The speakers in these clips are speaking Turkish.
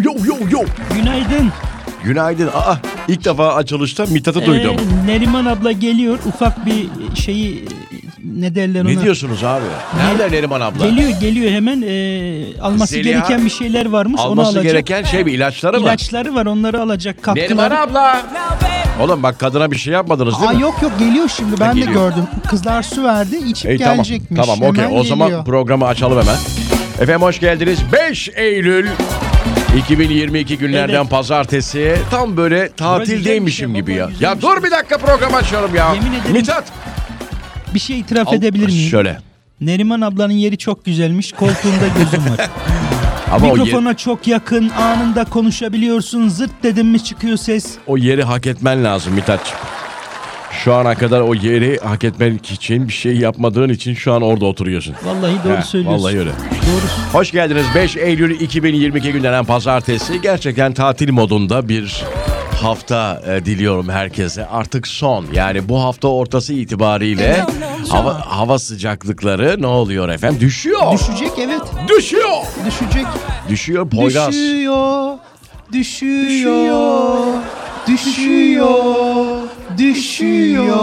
Yo. Günaydın. Günaydın. Aa ilk defa açılışta Mithat'ı duydum. Ee, Neriman abla geliyor. Ufak bir şeyi e, ne derler ona? ne diyorsunuz abi? Nerede Neriman abla? Geliyor geliyor hemen. Ee, alması Zeliha, gereken bir şeyler varmış. onu Alması alacak. gereken şey mi? İlaçları mı? İlaçları var onları alacak. Kalktılar. Neriman abla. Oğlum bak kadına bir şey yapmadınız değil Aa mi? yok yok geliyor şimdi ben de geliyor. gördüm. Kızlar su verdi içip İyi, tamam. gelecekmiş. Tamam okey. Hemen O zaman geliyor. programı açalım hemen. Efendim hoş geldiniz. 5 Eylül 2022 günlerden Evet. şey pazartesi. Tam böyle güzelmiş tatildeymişim ya, gibi baba, ya. Ya güzelmiş. dur bir dakika program açıyorum ya. Yemin ederim- Mithat. Bir şey itiraf al- edebilir miyim? Şöyle. Neriman ablanın yeri çok güzelmiş. Koltuğunda gözüm var. Ama o, Mikrofona yeri, çok yakın. Anında konuşabiliyorsun. Zırt dedim mi çıkıyor ses. o yeri hak etmen lazım Mithat'cığım. Şu ana kadar o yeri hak etmek için bir şey yapmadığın için şu an orada oturuyorsun. Vallahi doğru He, söylüyorsun. vallahi öyle. Doğru. Hoş geldiniz 5 Eylül 2022 günlenen pazartesi. Gerçekten tatil modunda bir hafta e, diliyorum herkese. Artık son yani bu hafta ortası itibariyle hava, hava sıcaklıkları ne oluyor efendim? Düşüyor. Düşecek evet düşüyor. düşecek. Düşüyor Poyraz. Düşüyor, düşüyor, düşüyor, düşüyor.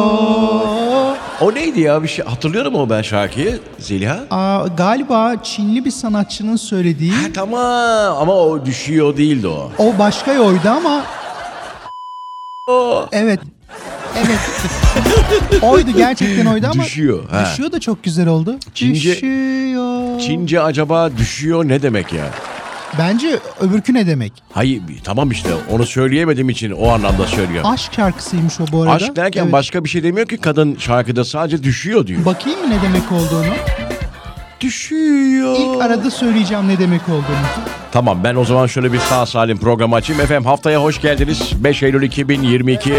O neydi ya bir şey hatırlıyorum o ben şarkıyı Zeliha. Aa, galiba Çinli bir sanatçının söylediği Ha, tamam ama o düşüyor değildi o. o başka yoydu ama evet. Evet. oydu gerçekten oydu ama Düşüyor, ha. düşüyor da çok güzel oldu. Çince- düşüyor. Çince acaba düşüyor ne demek ya? Bence öbürkü ne demek? Hayır tamam işte onu söyleyemediğim için o anlamda söylüyorum. Aşk şarkısıymış o bu arada. Aşk derken Evet. başka bir şey demiyor ki kadın şarkıda sadece düşüyor diyor. Bakayım mı ne demek olduğunu? düşüyor. İlk arada söyleyeceğim ne demek olduğunu. Tamam ben o zaman şöyle bir sağ salim programı açayım. Efendim haftaya hoş geldiniz. 5 Eylül 2022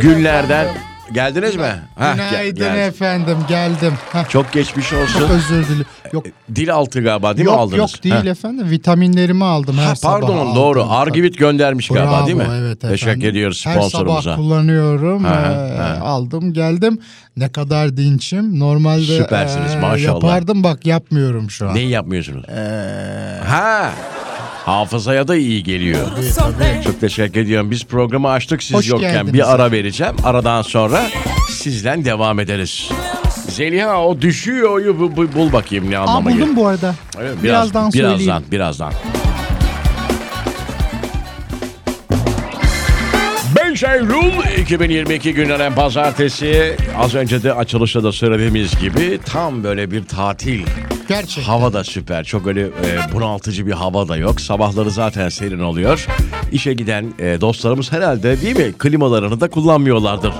günlerden geldiniz mi? Hah, gel- Günaydın gel- efendim geldim. Heh, Çok geçmiş çok olsun. özür dilerim. Yok, Dil altı galiba değil mi yok, aldınız? yok değil Heh. efendim. Vitaminlerimi aldım her Ha, sabah. pardon aldım. doğru. Argivit göndermiş Bravo, galiba değil mi? Evet efendim. Teşekkür ediyoruz Her sabah sponsorumuza. kullanıyorum. Ha, ha, Ee, ha. Aldım geldim. Ne kadar dinçim. Normalde Süpersiniz, maşallah. yapardım bak yapmıyorum şu an. Neyi yapmıyorsunuz? Ee, Ha. Hafızaya da iyi geliyor. Çok teşekkür ediyorum. Biz programı açtık siz Hoş yokken geldiniz. bir ara vereceğim. Aradan sonra sizden devam ederiz. Zeliha o düşüyor bu, bu- bul bakayım ne Aa, anlama geliyor. buldum bu arada. Evet, biraz- birazdan söyleyeyim. Birazdan, birazdan. 5 Eylül 2022 günlenen pazartesi az önce de açılışta da söylediğimiz gibi tam böyle bir tatil Gerçek. Hava da süper. Çok öyle e, bunaltıcı bir hava da yok. Sabahları zaten serin oluyor. İşe giden e, dostlarımız herhalde değil mi? Klimalarını da kullanmıyorlardır.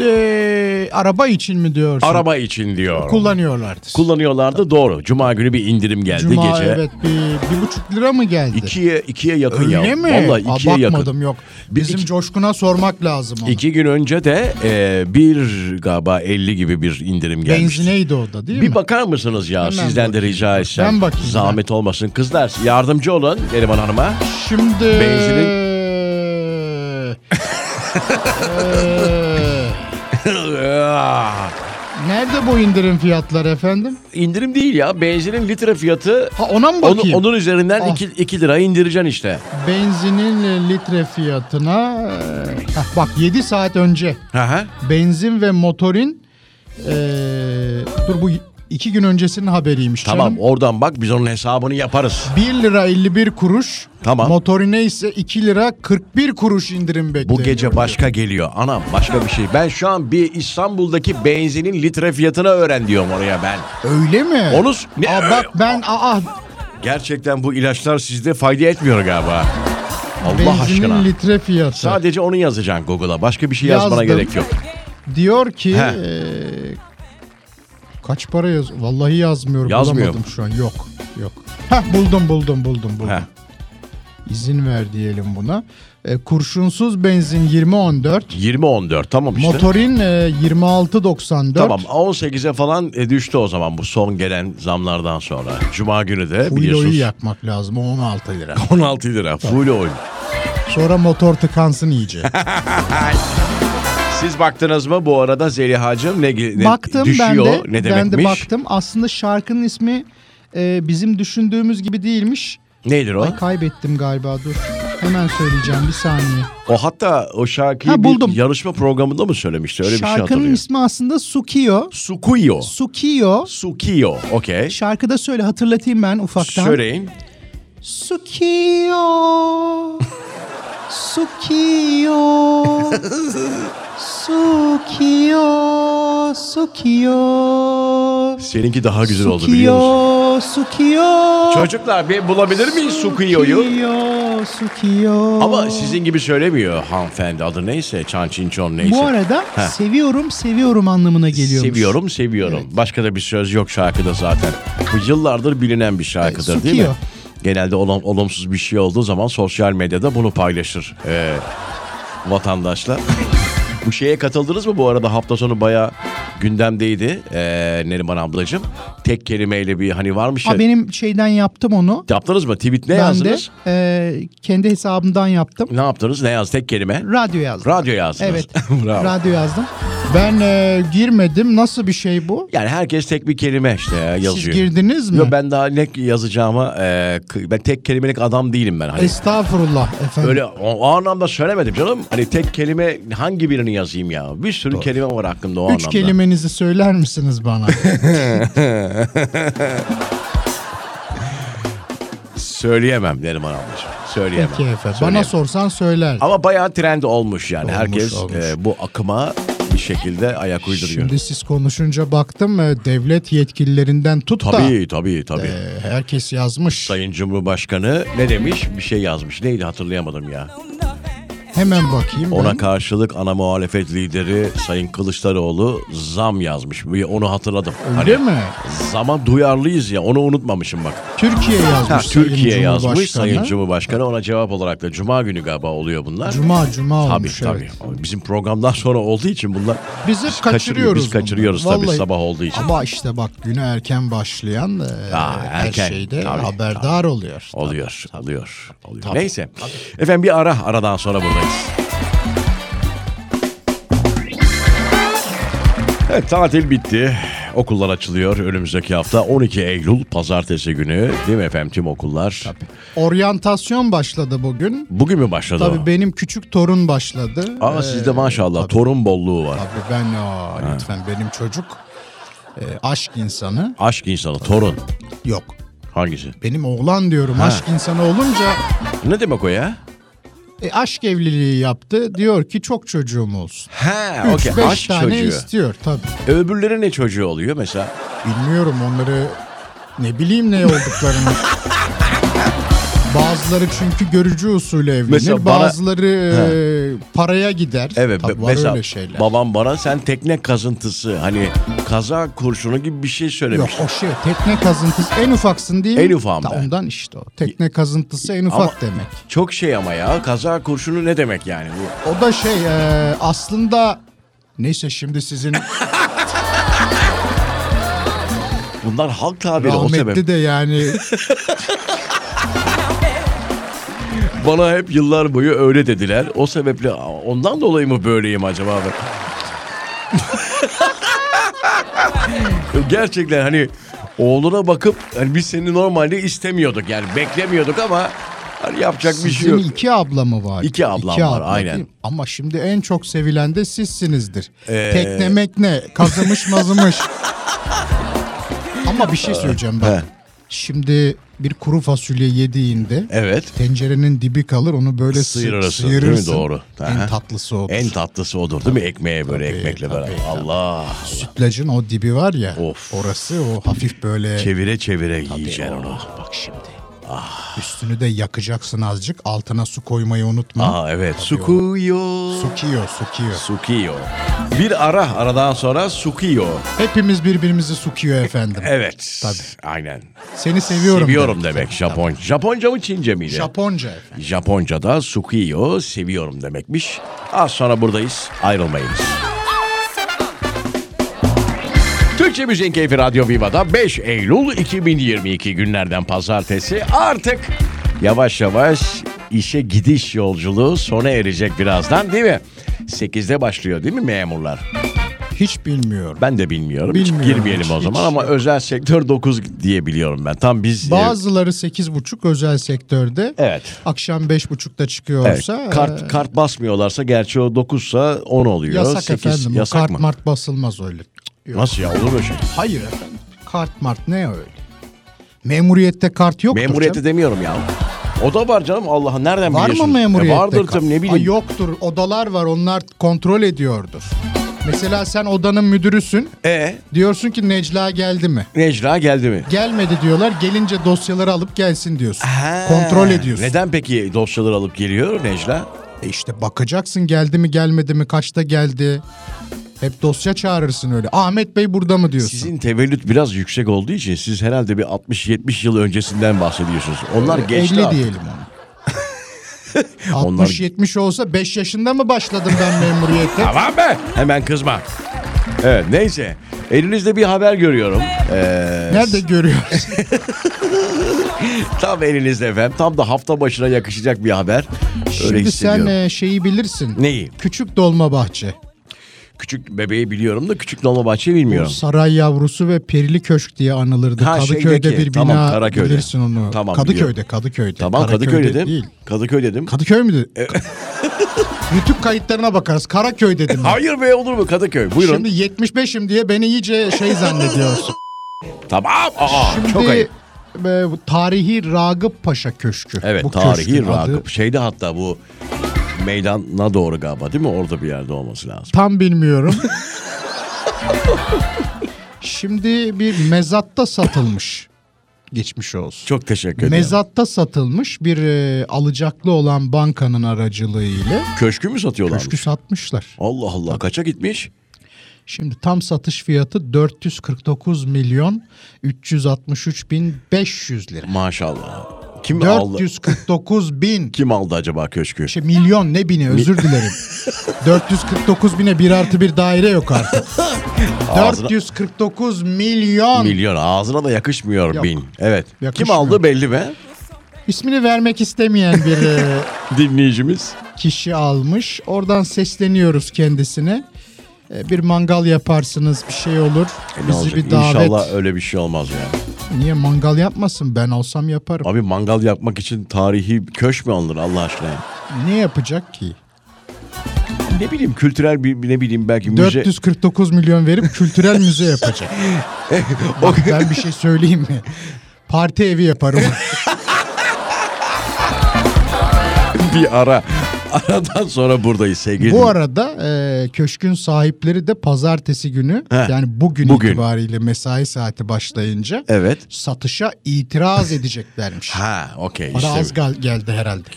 Ee, araba için mi diyorsun? Araba için diyor. kullanıyorlardı. Kullanıyorlardı doğru. Cuma günü bir indirim geldi Cuma gece. evet bir, bir buçuk lira mı geldi? İkiye, ikiye yakın Öyle ya. mi? Vallahi Aa, ikiye bakmadım yakın. yok. Bir Bizim iki- Coşkun'a sormak lazım onu. İki gün önce de e, bir galiba 50 gibi bir indirim gelmişti. Benzineydi o da değil bir mi? bakar mısınız ya? Hemen Sizden de rica etsem. Ben bakayım, Zahmet olmasın. Kızlar yardımcı olun Neriman Hanım'a. Şimdi... Benzinin- Ee, Nerede bu indirim fiyatları efendim? İndirim değil ya. Benzinin litre fiyatı Ha ona mı onun, bakayım? onun üzerinden Ah. 2 2 lira indireceksin işte. Benzinin litre fiyatına... ee, heh, bak 7 saat önce Aha. benzin ve motorin... ee, dur bu iki gün öncesinin haberiymiş Tamam canım. oradan bak biz onun hesabını yaparız. 1 lira 51 kuruş. Tamam. Motorine ise 2 lira 41 kuruş indirim Bu bekleniyor. gece başka geliyor. Anam başka bir şey. Ben şu an bir İstanbul'daki benzinin litre fiyatını öğren diyorum oraya ben. Öyle mi? Onu s- ne- Aa, bak ben aa Gerçekten bu ilaçlar sizde fayda etmiyor galiba. Allah benzinin aşkına. litre fiyatı. Sadece onu yazacaksın Google'a. Başka bir şey yazmana Yazdım. gerek yok. Diyor ki He. eee, kaç para yaz? Vallahi yazmıyorum. Yazmıyor. Bulamadım şu an. Yok. Yok. Heh, buldum buldum buldum buldum. Heh. İzin ver diyelim buna. E, kurşunsuz benzin 20.14. 20-14 tamam işte. Motorin e, 26.94. Tamam 18'e falan e, düştü o zaman bu son gelen zamlardan sonra. Cuma günü de Fuloyu biliyorsunuz. yakmak lazım. o 16 lira. 16 lira full oil. Sonra motor tıkansın iyice. Siz baktınız mı bu arada Zeliha'cığım ne, ge- ne baktım düşüyor ben de. ne ben de demekmiş? baktım. Aslında şarkının ismi e, bizim düşündüğümüz gibi değilmiş. Nedir o? Ay kaybettim galiba dur. Heh, Hemen söyleyeceğim bir saniye. O hatta o şarkıyı Ha, buldum. bir yarışma programında mı söylemişti? Öyle bir şey Şarkının hatırlıyorum. ismi aslında Sukiyo. Sukuyo. Sukiyo. Sukiyo. Okey. Şarkıda söyle hatırlatayım ben ufaktan. Söyleyin. Sukiyo. Sukiyo. Sukiyo. Sukiyo. Seninki daha güzel oldu biliyor musun? Sukiyo. Sukiyo. Çocuklar bir bulabilir miyiz Sukiyo'yu? Sukiyo. Sukiyo. Ama sizin gibi söylemiyor hanımefendi adı neyse Chan Chin Chon neyse. Bu arada Heh. seviyorum seviyorum anlamına geliyormuş. Seviyorum seviyorum. Başka da bir söz yok şarkıda zaten. Bu yıllardır bilinen bir şarkıdır E, değil mi? Sukiyo. Genelde olum- olumsuz bir şey olduğu zaman sosyal medyada bunu paylaşır e, vatandaşlar. Bu şeye katıldınız mı bu arada hafta sonu bayağı gündemdeydi e, Neriman ablacığım. Tek kelimeyle bir hani varmış ya. Ha, benim şeyden yaptım onu. Yaptınız mı? Tweet ne ben de yazdınız? e, kendi hesabımdan yaptım. Ne yaptınız? Ne yaz? Tek kelime. Radyo yazdım. Radyo yazdınız. Evet. Bravo. Radyo yazdım. Ben e, girmedim. Nasıl bir şey bu? yani herkes tek bir kelime işte ya, yazıyor. Siz girdiniz mi? Yok ben daha ne yazacağıma e, k- ben tek kelimelik adam değilim ben. Hani Estağfurullah efendim. öyle o, o anlamda söylemedim canım. Hani tek kelime hangi birini yazayım ya? Bir sürü kelime var hakkımda o Üç anlamda. kelimenizi söyler misiniz bana? Söyleyemem Neriman ablacığım. Söyleyemem. Peki efendim. Bana Söyleyemem. sorsan söyler. Ama bayağı trend olmuş yani. Olmuş, Herkes olmuş. e, bu akıma bir şekilde ayak uyduruyor. Şimdi siz konuşunca baktım e, devlet yetkililerinden tut da Tabii tabii tabii. e, herkes yazmış. Sayın Cumhurbaşkanı ne demiş? Bir şey yazmış. Neydi hatırlayamadım ya. Hemen bakayım ben. Ona karşılık ana muhalefet lideri Sayın Kılıçdaroğlu zam yazmış. Bir Onu hatırladım. Öyle mi? Zama duyarlıyız ya onu unutmamışım bak. Türkiye yazmış. Ha, Sayın Türkiye yazmış Sayın Cumhurbaşkanı. Cumhurbaşkanı ona cevap olarak da Cuma günü galiba oluyor bunlar. Cuma cuma Tabii olmuş tabii. evet. Bizim programdan sonra olduğu için bunlar Biz hep kaçırıyoruz. Biz kaçırıyoruz bunları. tabii Vallahi. sabah olduğu için. Ama işte bak güne erken başlayan e, Aa, erken, her şeyde tabii, haberdar oluyor. Oluyor, oluyor, oluyor. Neyse. Efendim bir ara, aradan sonra buradayız. Evet, tatil bitti. Okullar açılıyor önümüzdeki hafta 12 Eylül pazartesi günü değil mi efendim tüm okullar? Oryantasyon başladı bugün. Bugün mü başladı Tabii o? benim küçük torun başladı. Aa Ee, sizde maşallah torun bolluğu var. Tabii ben aa, lütfen benim çocuk e, aşk insanı Aşk insanı torun. yok. Hangisi? Benim oğlan diyorum aşk insanı olunca Ne demek o ya? e, aşk evliliği yaptı. Diyor ki çok çocuğum olsun. Ha, 3-5 okey. Aşk tane çocuğu. istiyor tabii. Öbürleri ne çocuğu oluyor mesela? Bilmiyorum onları ne bileyim ne olduklarını. Bazıları çünkü görücü usulü evlenir. Mesela bana- Bazıları e, paraya gider. Evet Tabii be- var mesela öyle şeyler. babam bana sen tekne kazıntısı hani kaza kurşunu gibi bir şey Yok söylemiş. o şey tekne kazıntısı en ufaksın değil mi? En ufağım Ta ben. Ondan işte o. Tekne kazıntısı en ufak Ama- demek. Çok şey ama ya kaza kurşunu ne demek yani bu? O da şey e, aslında neyse şimdi sizin Bunlar halk tabiri o sebep. rahmetli de yani Bana hep yıllar boyu öyle dediler. O sebeple "Aa, ondan dolayı mı böyleyim acaba ben? Gerçekten hani oğluna bakıp hani biz seni normalde istemiyorduk yani beklemiyorduk ama hani yapacak bir şey sizin yok. iki abla mı var? İki ablam var, abla aynen. değil mi? Ama şimdi en çok sevilen de sizsinizdir. Ee, Tekne mekne kazımış mazımış. Ama bir şey söyleyeceğim Ee, He. bak. Şimdi bir kuru fasulye yediğinde Evet. tencerenin dibi kalır onu böyle sı- Sıyırırsın, değil mi? sıyırırsın. Doğru. Aha. En tatlısı odur. En tatlısı odur değil mi? Ekmeğe böyle Tabii, ekmekle tabii, beraber. tabii. Allah. Sütlacın o dibi var ya. Of. Orası o hafif böyle. Çevire çevire yiyeceksin onu. Bak şimdi. Ah. Üstünü de yakacaksın azıcık. Altına su koymayı unutma. Aa evet. Sukuyo. Sukiyo, sukiyo. Sukiyo. Bir ara aradan sonra Sukiyo. Hepimiz birbirimizi sukiyor efendim. Evet. Tabii. Aynen. Seni seviyorum. seviyorum demek. demek Japon. Japonca mı Çince miydi? Japonca efendim. Japonca'da Sukiyo seviyorum demekmiş. Az sonra buradayız. Ayrılmayınız. Türkçe Müziğin Keyfi Radyo Viva'da 5 Eylül 2022 günlerden pazartesi artık yavaş yavaş işe gidiş yolculuğu sona erecek birazdan değil mi? 8'de başlıyor değil mi memurlar? Hiç bilmiyorum. Ben de bilmiyorum. Bilmiyorum. Hiç girmeyelim o Hiç- zaman hiç ama yok. özel sektör 9 diye biliyorum ben. Tam biz e, Bazıları 8.30 özel sektörde. Evet. Akşam 5.30'da Evet, çıkıyorsa. e, kart kart basmıyorlarsa gerçi o 9'sa 10 oluyor. yasak 8 efendim. O yasak kart mı? mart basılmaz öyle. Yok. Nasıl ya olur mu öyle şey? Hayır efendim. Kart mart ne öyle? Memuriyette kart yoktur Memuriyeti canım. demiyorum ya. O da var canım Allah nereden Var mı biliyorsun? memuriyette E vardır kart? tabii ne bileyim. Ay yoktur. Odalar var. Onlar kontrol ediyordur. Mesela sen odanın müdürüsün. E Diyorsun ki Necla geldi mi? Necra geldi mi? Gelmedi diyorlar. Gelince dosyaları alıp gelsin diyorsun. Ha, Kontrol ediyorsun. Neden peki dosyaları alıp geliyor Necla? E işte bakacaksın geldi mi gelmedi mi kaçta geldi. Hep dosya çağırırsın öyle. Ahmet Bey burada mı diyorsun? Sizin tevellüt biraz yüksek olduğu için siz herhalde bir 60-70 yıl öncesinden bahsediyorsunuz. Onlar geçti 50 artık. E, diyelim ona. Onlar- 60-70 olsa 5 yaşında mı başladım ben memuriyete? Tamam be. Hemen kızma. Evet neyse. Elinizde bir haber görüyorum. Ee, Nerede görüyoruz? tam elinizde efendim. Tam da hafta başına yakışacak bir haber. Öyle Şimdi sen hissediyorum. e, şeyi bilirsin. Neyi? Küçük Dolmabahçe. Küçük bebeği biliyorum da küçük Dolmabahçe bilmiyorum. Saray yavrusu ve Perili Köşk diye anılırdı. Ha, Kadıköy'de şeydeki, bir bina tamam, Karaköy'de. bilirsin onu. Tamam, Kadıköy'de, biliyorum. Kadıköy'de. Tamam Kadıköy Karaköy'de dedim. Değil. Kadıköy dedim. Kadıköy müydü? E- YouTube kayıtlarına bakarız. Karaköy dedim. ben. Hayır be olur mu Kadıköy? Buyurun. Şimdi 75'im diye beni iyice şey zannediyorsun. Tamam. Aa, Şimdi çok ayıp. e, bu tarihi Ragıp Paşa Köşkü. Evet Bu tarihi köşkün adı. Ragıp. Şeyde hatta bu meydana doğru galiba değil mi? Orada bir yerde olması lazım. Tam bilmiyorum. Şimdi bir mezatta satılmış. Geçmiş olsun. Çok teşekkür ederim. Mezatta satılmış bir e, alacaklı olan bankanın aracılığıyla Köşkü mü satıyorlar? köşkü satmışlar. Allah Allah kaça gitmiş? Şimdi tam satış fiyatı 449 milyon 363 bin 500 lira. Maşallah. Kim aldı? 449 bin Kim aldı acaba köşkü? şey milyon ne bini özür dilerim. 449 bine 1 artı bir daire yok artık. Ağzına- 449 milyon. Milyon ağzına da yakışmıyor Yok. bin. Evet. Kim Yakışmıyor. aldı belli mi? İsmini vermek istemeyen bir e, Dinleyicimiz. kişi almış. Oradan sesleniyoruz kendisine. E, Bir mangal yaparsınız bir şey olur. E, ne Bizi olacak? bir davet. İnşallah öyle bir şey olmaz ya. Niye mangal yapmasın? Ben olsam yaparım. Abi mangal yapmak için tarihi köş mü alınır Allah aşkına? Ne yapacak ki? Ne bileyim kültürel bir ne bileyim belki müze. 449 milyon verip kültürel müze yapacak. Bak ben bir şey söyleyeyim mi? Parti evi yaparım. bir ara. Aradan sonra buradayız sevgili Bu arada e, köşkün sahipleri de pazartesi günü He, yani bugün, bugün. itibariyle mesai saati başlayınca Evet. satışa itiraz edeceklermiş. Ha okey Para işte. az gal- geldi herhalde.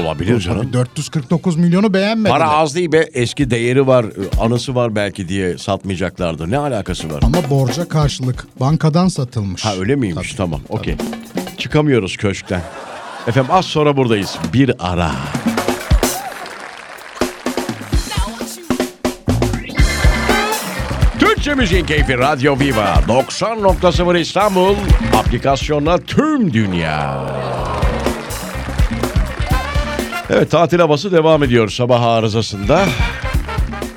Olabilir canım. Tabii 449 milyonu beğenmediler. Para az değil be eski değeri var anısı var belki diye satmayacaklardı. Ne alakası var? Ama borca karşılık bankadan satılmış. Ha öyle miymiş? tamam. Okey. Çıkamıyoruz köşkten. Efendim az sonra buradayız. Bir ara. Türkçe Müziğin Keyfi Radyo Viva 90.0 İstanbul aplikasyonla tüm dünya. Evet tatil havası devam ediyor sabah arızasında.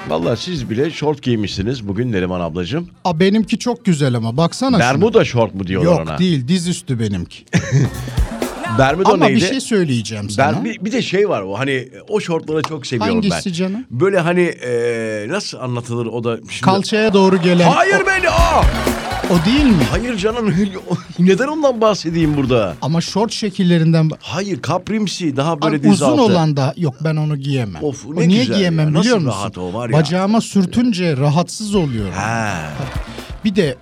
Vallahi siz bile şort giymişsiniz bugün Neriman ablacığım. Aa, benimki çok güzel ama baksana şuna. Bermuda şort mu diyorlar Yok ona? değil dizüstü benimki. Bermuda ama neydi? bir şey söyleyeceğim sana. Ben bir, bir de şey var o hani o şortları çok seviyorum ben. Hangisi canım? Böyle hani e, nasıl anlatılır o da şimdi. Kalçaya doğru gelen Hayır beni aa! o değil mi? Hayır canım neden ondan bahsedeyim burada? Ama short şekillerinden Hayır kaprimsi daha böyle Abi diz uzun altı. olan da yok ben onu giyemem. Of, O ne niye güzel giyemem ya, nasıl biliyor musun? rahat o var ya. Bacağıma sürtünce rahatsız oluyorum. Ha, Bir de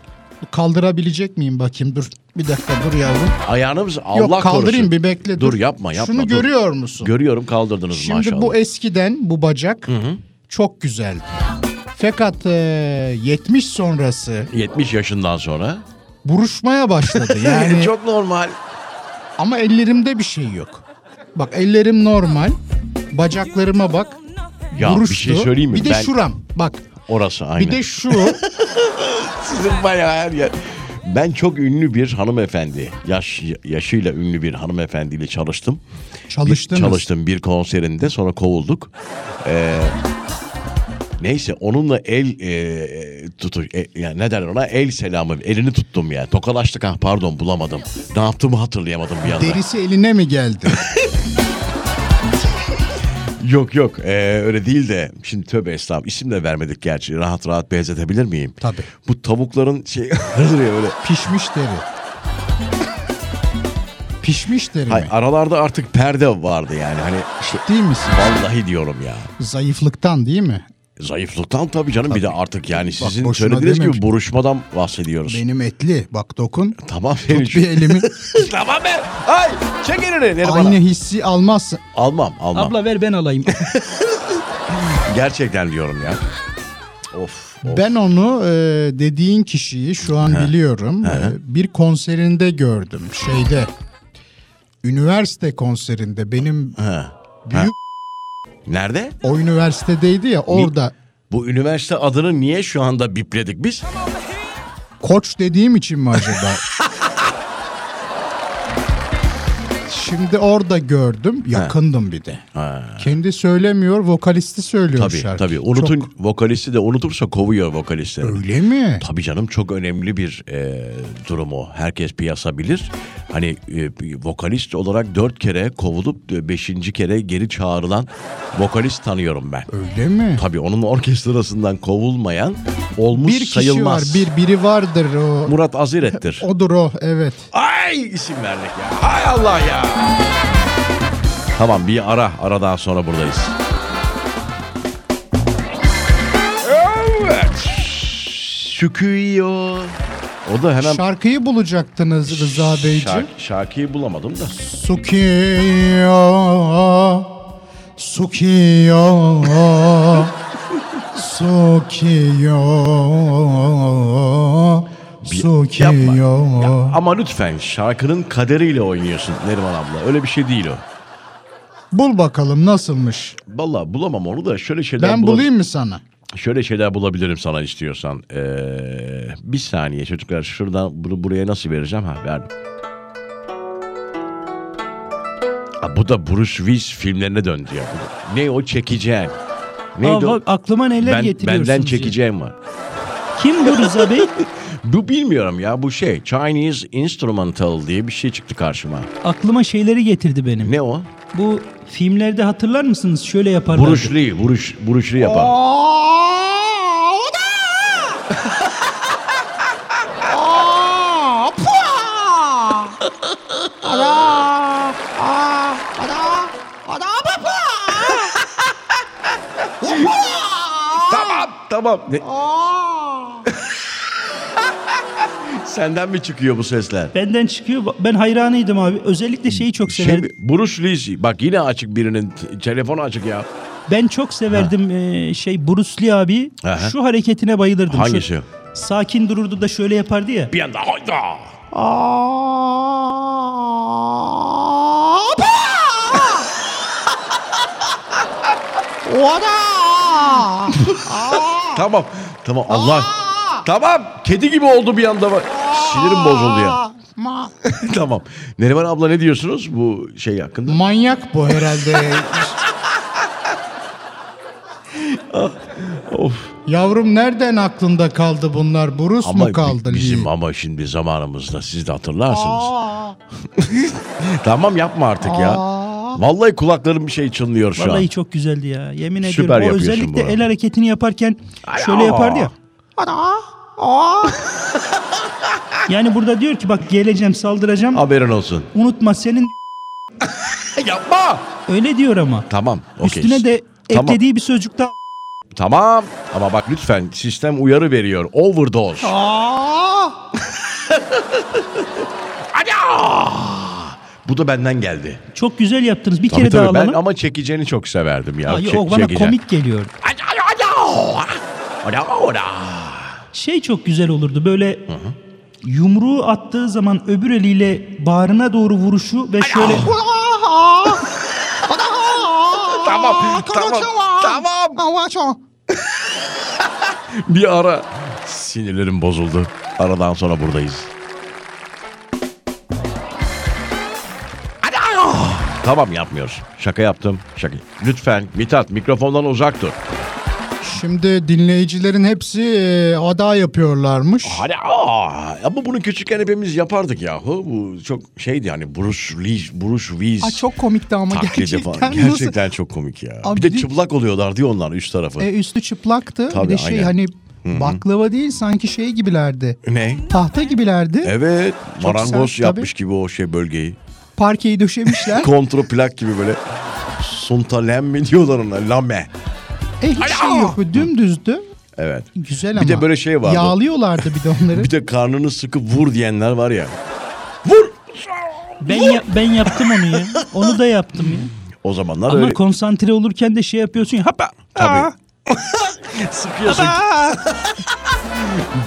kaldırabilecek miyim bakayım dur. Bir dakika dur yavrum. ayağınız Allah yok kaldırayım korusun. bir bekle Dur yapma yapma. Şunu dur. görüyor musun? Görüyorum kaldırdınız Şimdi maşallah. bu eskiden bu bacak çok güzeldi. Fakat e, 70 sonrası 70 yaşından sonra. buruşmaya başladı. Yani çok normal. ama ellerimde bir şey yok. Bak ellerim normal. Bacaklarıma bak. Ya buruştu. bir şey söyleyeyim mi? Bir de ben, şuram. Bak Orası aynı. Bir de şu Sizin bayağı her yer. Ben çok ünlü bir hanımefendi, yaş yaşıyla ünlü bir hanımefendiyle çalıştım. Bir- çalıştınız. çalıştım bir konserinde sonra kovulduk. Ee, Neyse onunla el e, tutu e, yani ne derler ona el selamı elini tuttum yani tokalaştık ha pardon bulamadım ne yaptığımı hatırlayamadım bir anda. Derisi eline mi geldi? Yok yok e, öyle değil de şimdi tövbe estağfurullah isim de vermedik gerçi rahat rahat benzetebilir miyim? Tabii. Bu tavukların şey vardır ya öyle Pişmiş deri. Pişmiş deri Hay, mi? aralarda artık perde vardı yani hani işte Değil misin? vallahi diyorum ya. Zayıflıktan değil mi? Zayıflıktan tabii canım bir de artık yani sizin boşuna söylediğiniz gibi dememiştim. buruşmadan bahsediyoruz. Benim etli. Bak dokun. Tamam Tut bir Feriş. elimi. tamam be. Ay çek elini. Neriman. Aynı hissi almazsın. Almam almam. Abla ver ben alayım. Gerçekten diyorum ya. Of. of. Ben onu e, dediğin kişiyi şu an biliyorum. E, bir konserinde gördüm. Şeyde. Üniversite konserinde benim Ha. büyük Nerede? o üniversitedeydi ya orada Bu üniversite adını niye şu anda bipledik biz? koç dediğim için mi acaba? Şimdi orada gördüm. Yakındım bir de. Kendi söylemiyor, vokalisti söylüyor Tabii şarkı. tabii. Unutun vokalisti de unutursa kovuyor vokalisti. Öyle mi? Tabii canım çok önemli bir e, durum o. Herkes piyasa bilir. Hani e, vokalist olarak dört kere kovulup e, beşinci kere geri çağrılan vokalist tanıyorum ben. Öyle mi? Tabii onun orkestrasından kovulmayan olmuş bir kişi sayılmaz. var, bir biri vardır o. Murat Aziret'tir. Odur o, evet. Ay isim verdik ya. Ay Allah ya. Tamam bir ara. Aradan sonra buradayız. Evet. Süküyor. O da hemen... Şarkıyı bulacaktınız Rıza Beyciğim. Şark- şarkıyı bulamadım da. Sukiyo, sukiyo, sukiyo, Yapma. Ya, sukiyo. ama lütfen şarkının kaderiyle oynuyorsun Neriman abla. Öyle bir şey değil o. Bul bakalım nasılmış. Vallahi bulamam onu da şöyle şeyler Ben bula- bulayım mı sana? Şöyle şeyler bulabilirim sana istiyorsan. Ee, bir saniye çocuklar şuradan bunu buraya nasıl vereceğim? Ha verdim. Ha, bu da Bruce Willis filmlerine döndü ya. Bu da- Ne o çekeceğim. Aa, Neydi o? bak aklıma neler Ben, getiriyorsunuz. benden ya. çekeceğim var. Kim bu Rıza Bey? Bu bilmiyorum ya bu şey Chinese Instrumental diye bir şey çıktı karşıma. Aklıma şeyleri getirdi benim. Ne o? Bu filmlerde hatırlar mısınız? Şöyle yaparlar. Bruce Lee, Bruce, Bruce Lee yapar. Tamam tamam. Ne- Senden mi çıkıyor bu sesler? Benden çıkıyor. Ben hayranıydım abi. Özellikle şeyi çok Şey, severdim. Bruce Lee. Bak yine açık birinin t- telefonu açık ya. Ben çok severdim e, şey Bruce Lee abi. Aha. Şu hareketine bayılırdım. Şu- Hangisi? sakin dururdu da şöyle yapardı ya. Bir anda hayda. Tamam. Tamam Allah. Tamam. Kedi gibi oldu bir anda bak. Sinirim bozuldu ya. Ma- tamam. Neriman abla ne diyorsunuz bu şey hakkında? Manyak bu herhalde. Of. Yavrum nereden aklında kaldı bunlar? Bruce Ama mu kaldı? bi- Lee? bizim ama şimdi zamanımızda siz de hatırlarsınız. tamam yapma artık ya. Vallahi kulaklarım bir şey çınlıyor şu Vallahi an. çok güzeldi ya. Yemin Süper ediyorum. O yapıyorsun özellikle bunu. el hareketini yaparken şöyle yapardı ya. Yani burada diyor ki bak geleceğim saldıracağım. Haberin olsun. Unutma senin Yapma. öyle diyor ama. Tamam. okey. Üstüne de Tamam. eklediği bir sözcük daha. Tamam. Ama bak lütfen sistem uyarı veriyor. Overdose. Ana! Bu da benden geldi. Çok güzel yaptınız. Bir Tabii kere daha tabii ben alalım. ama çekeceğini çok severdim ya. Ay, Çek- o bana çekeceğim. komik geliyor. Şey çok güzel olurdu böyle yumruğu attığı zaman öbür eliyle bağrına doğru vuruşu ve şöyle Tamam, tamam, tamam. Bir ara. Sinirlerim bozuldu. Aradan sonra buradayız. oh! Tamam yapmıyoruz. Şaka yaptım. Şaka. Lütfen Mithat mikrofondan uzak dur. Şimdi dinleyicilerin hepsi e, ada yapıyorlarmış. Hani aa ama bunu küçükken hepimiz yapardık yahu. Bu çok şeydi hani Bruce Lee, Bruce Willis. Aa, çok komikti ama taklidi gerçekten. falan. nasıl- Gerçekten çok komik ya. Abi bir de bir- çıplak oluyorlardı ya onlar üst tarafı. E, üstü çıplaktı. Tabii, bir de şey aynen. hani baklava değil sanki şey gibilerdi. ne? Tahta gibilerdi. Evet. Çok Marangoz sert yapmış gibi o şey bölgeyi. Parkeyi döşemişler. Kontraplak gibi böyle. Suntalem mi diyorlar ona? Lame. e, hiç şey yok. böyle Dümdüzdü. Evet. Güzel Bir ama. de böyle şey vardı. Yağlıyorlardı bir de onları. Bir de karnını sıkı vur diyenler var ya. Ben ya- ben yaptım onu ya. Onu da yaptım ya. O zamanlar Ama öyle. konsantre olurken de şey yapıyorsun ya. Hapa. Tabii. Tabii. Sıkıyorsun.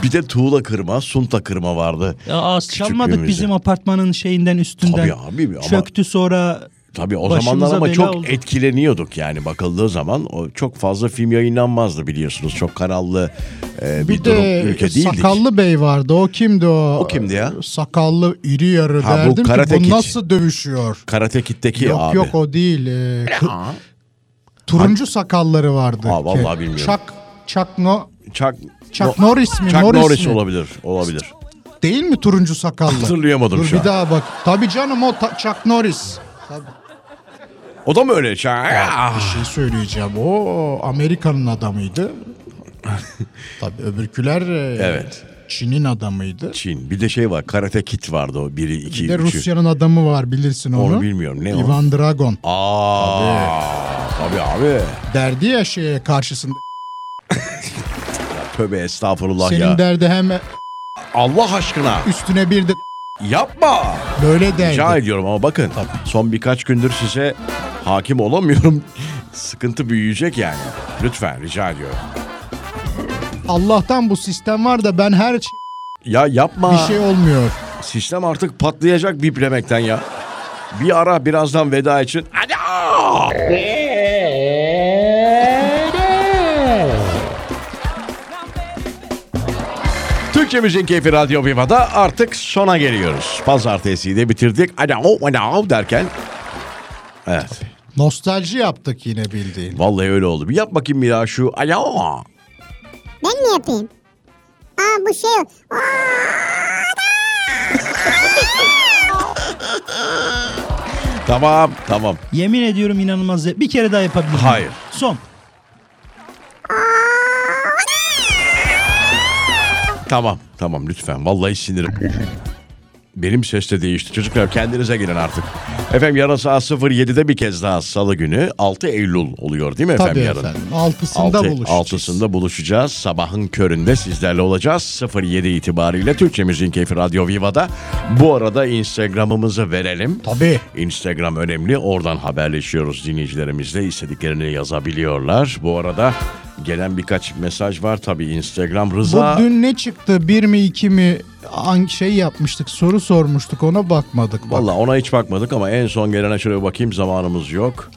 bir de tuğla kırma, sunta kırma vardı. Ya az Küçük çalmadık günümüzde. bizim apartmanın şeyinden üstünden. Tabii abi ama- Çöktü sonra Tabii o Başımıza zamanlar ama bela çok oldu. etkileniyorduk yani bakıldığı zaman. O çok fazla film yayınlanmazdı biliyorsunuz. Çok kanallı e, bir, Bir durum de ülke değildik. sakallı bey vardı. O kimdi o? E, O kimdi ya? Sakallı iri yarı Ha, bu derdim ki Karate bu Kid." nasıl dövüşüyor? Karate Kid'deki yok abi. yok o değil. Ee, kı- turuncu sakalları vardı. Aa, vallahi Ke- bilmiyorum. Chuck, Chuck No- Chuck, Chuck No- Norris mi? Chuck Norris, Norris mi? olabilir. Olabilir. Değil mi turuncu sakallı? Hatırlayamadım Dur şu an. bir daha bak. Tabii canım o ta- Chuck Norris. O da mı öyle? Ah. Chuck- Bir şey söyleyeceğim. O Amerika'nın adamıydı. Tabii öbürküler e, Evet. Çin'in adamıydı. Çin. Bir de şey var. Karate Kid vardı o. Biri, iki, Bir de üçü. Rusya'nın adamı var bilirsin onu. Onu bilmiyorum. Ne o? Ivan Dragon. Aa, tabii abi. Derdi ya şeye karşısında. Tövbe estağfurullah Senin Ah ya. derdi hem Allah aşkına üstüne bir de yapma. böyle derdi. Rica ediyorum ama bakın son birkaç gündür size hakim olamıyorum. Sıkıntı büyüyecek yani. Lütfen rica ediyorum. Allah'tan bu sistem var da ben her ç- Ya yapma. bir şey olmuyor. Sistem artık patlayacak biplemekten ya. Bir ara birazdan veda için. Hadi. aa! Türkçe Müziğin Keyfi Radyo Viva'da artık sona geliyoruz. Pazartesiyi de bitirdik. Hadi o, hadi o derken. Evet. Nostalji yaptık yine bildiğin. Vallahi öyle oldu. Bir yap bakayım bir daha şu. Hadi o. Ben mi yapayım? Aa bu şey o. Tamam tamam. yemin ediyorum inanılmaz. zevk- Bir kere daha yapabilirim. Hayır. Son. Tamam tamam lütfen vallahi sinirim. Benim ses de değişti. Çocuklar kendinize gelin artık. Efendim yarın saat 07'de bir kez daha salı günü 6 Eylül oluyor değil mi Tabii efendim efendim. yarın? Altısında Altı- buluşacağız. altısında buluşacağız. Sabahın köründe sizlerle olacağız. 07 itibariyle Türkçe Müziğin Keyfi Radyo Viva'da. Bu arada Instagram'ımızı verelim. Tabii. Instagram önemli. Oradan haberleşiyoruz dinleyicilerimizle. istediklerini yazabiliyorlar. Bu arada gelen birkaç mesaj var tabii Instagram Rıza. Bu dün ne çıktı? Bir mi iki mi? An- şey yapmıştık soru sormuştuk ona bakmadık. Bak. Valla ona hiç bakmadık ama en son gelene şöyle bir bakayım zamanımız yok.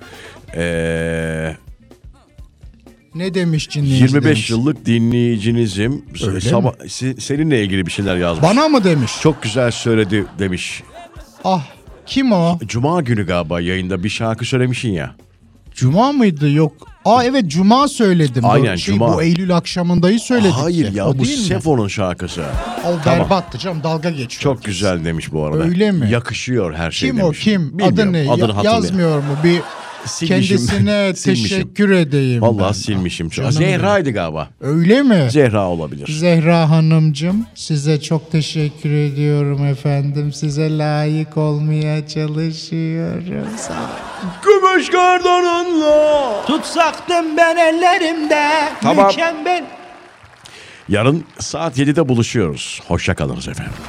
Ee, Ne demiş dinleyicilerimiz? 25 yıllık dinleyicinizim. Öyle Sabah- se- seninle ilgili bir şeyler yazmış. Bana mı demiş? çok güzel söyledi demiş. Ah kim o? Cuma günü galiba yayında bir şarkı söylemişsin ya. Cuma mıydı yok? Aa evet cuma söyledim. Aynen, Şey, Cuma. Bu Eylül akşamındayı söyledik. Hayır ya O bu değil mi? Sefo'nun şarkısı. O berbattı canım dalga geçiyor. Çok güzel demiş bu arada. Öyle mi? Yakışıyor her şey Kim o demiş. kim? Bilmiyorum, Adı ne? Ya- Adını hatırlayamıyorum. yazmıyor mu? Bir Silmişim. kendisine Silmişim. teşekkür edeyim. ben. Vallahi silmişim. Canım Zehra'ydı galiba. Öyle mi? Zehra olabilir. Zehra Hanımcığım size çok teşekkür ediyorum efendim. Size layık olmaya çalışıyorum. Sağ olun. Gümüş kardanınla. Tutsaktım ben ellerimde. Tamam. Mükemmel. Yarın saat 7'de buluşuyoruz. Hoşça kalınız efendim.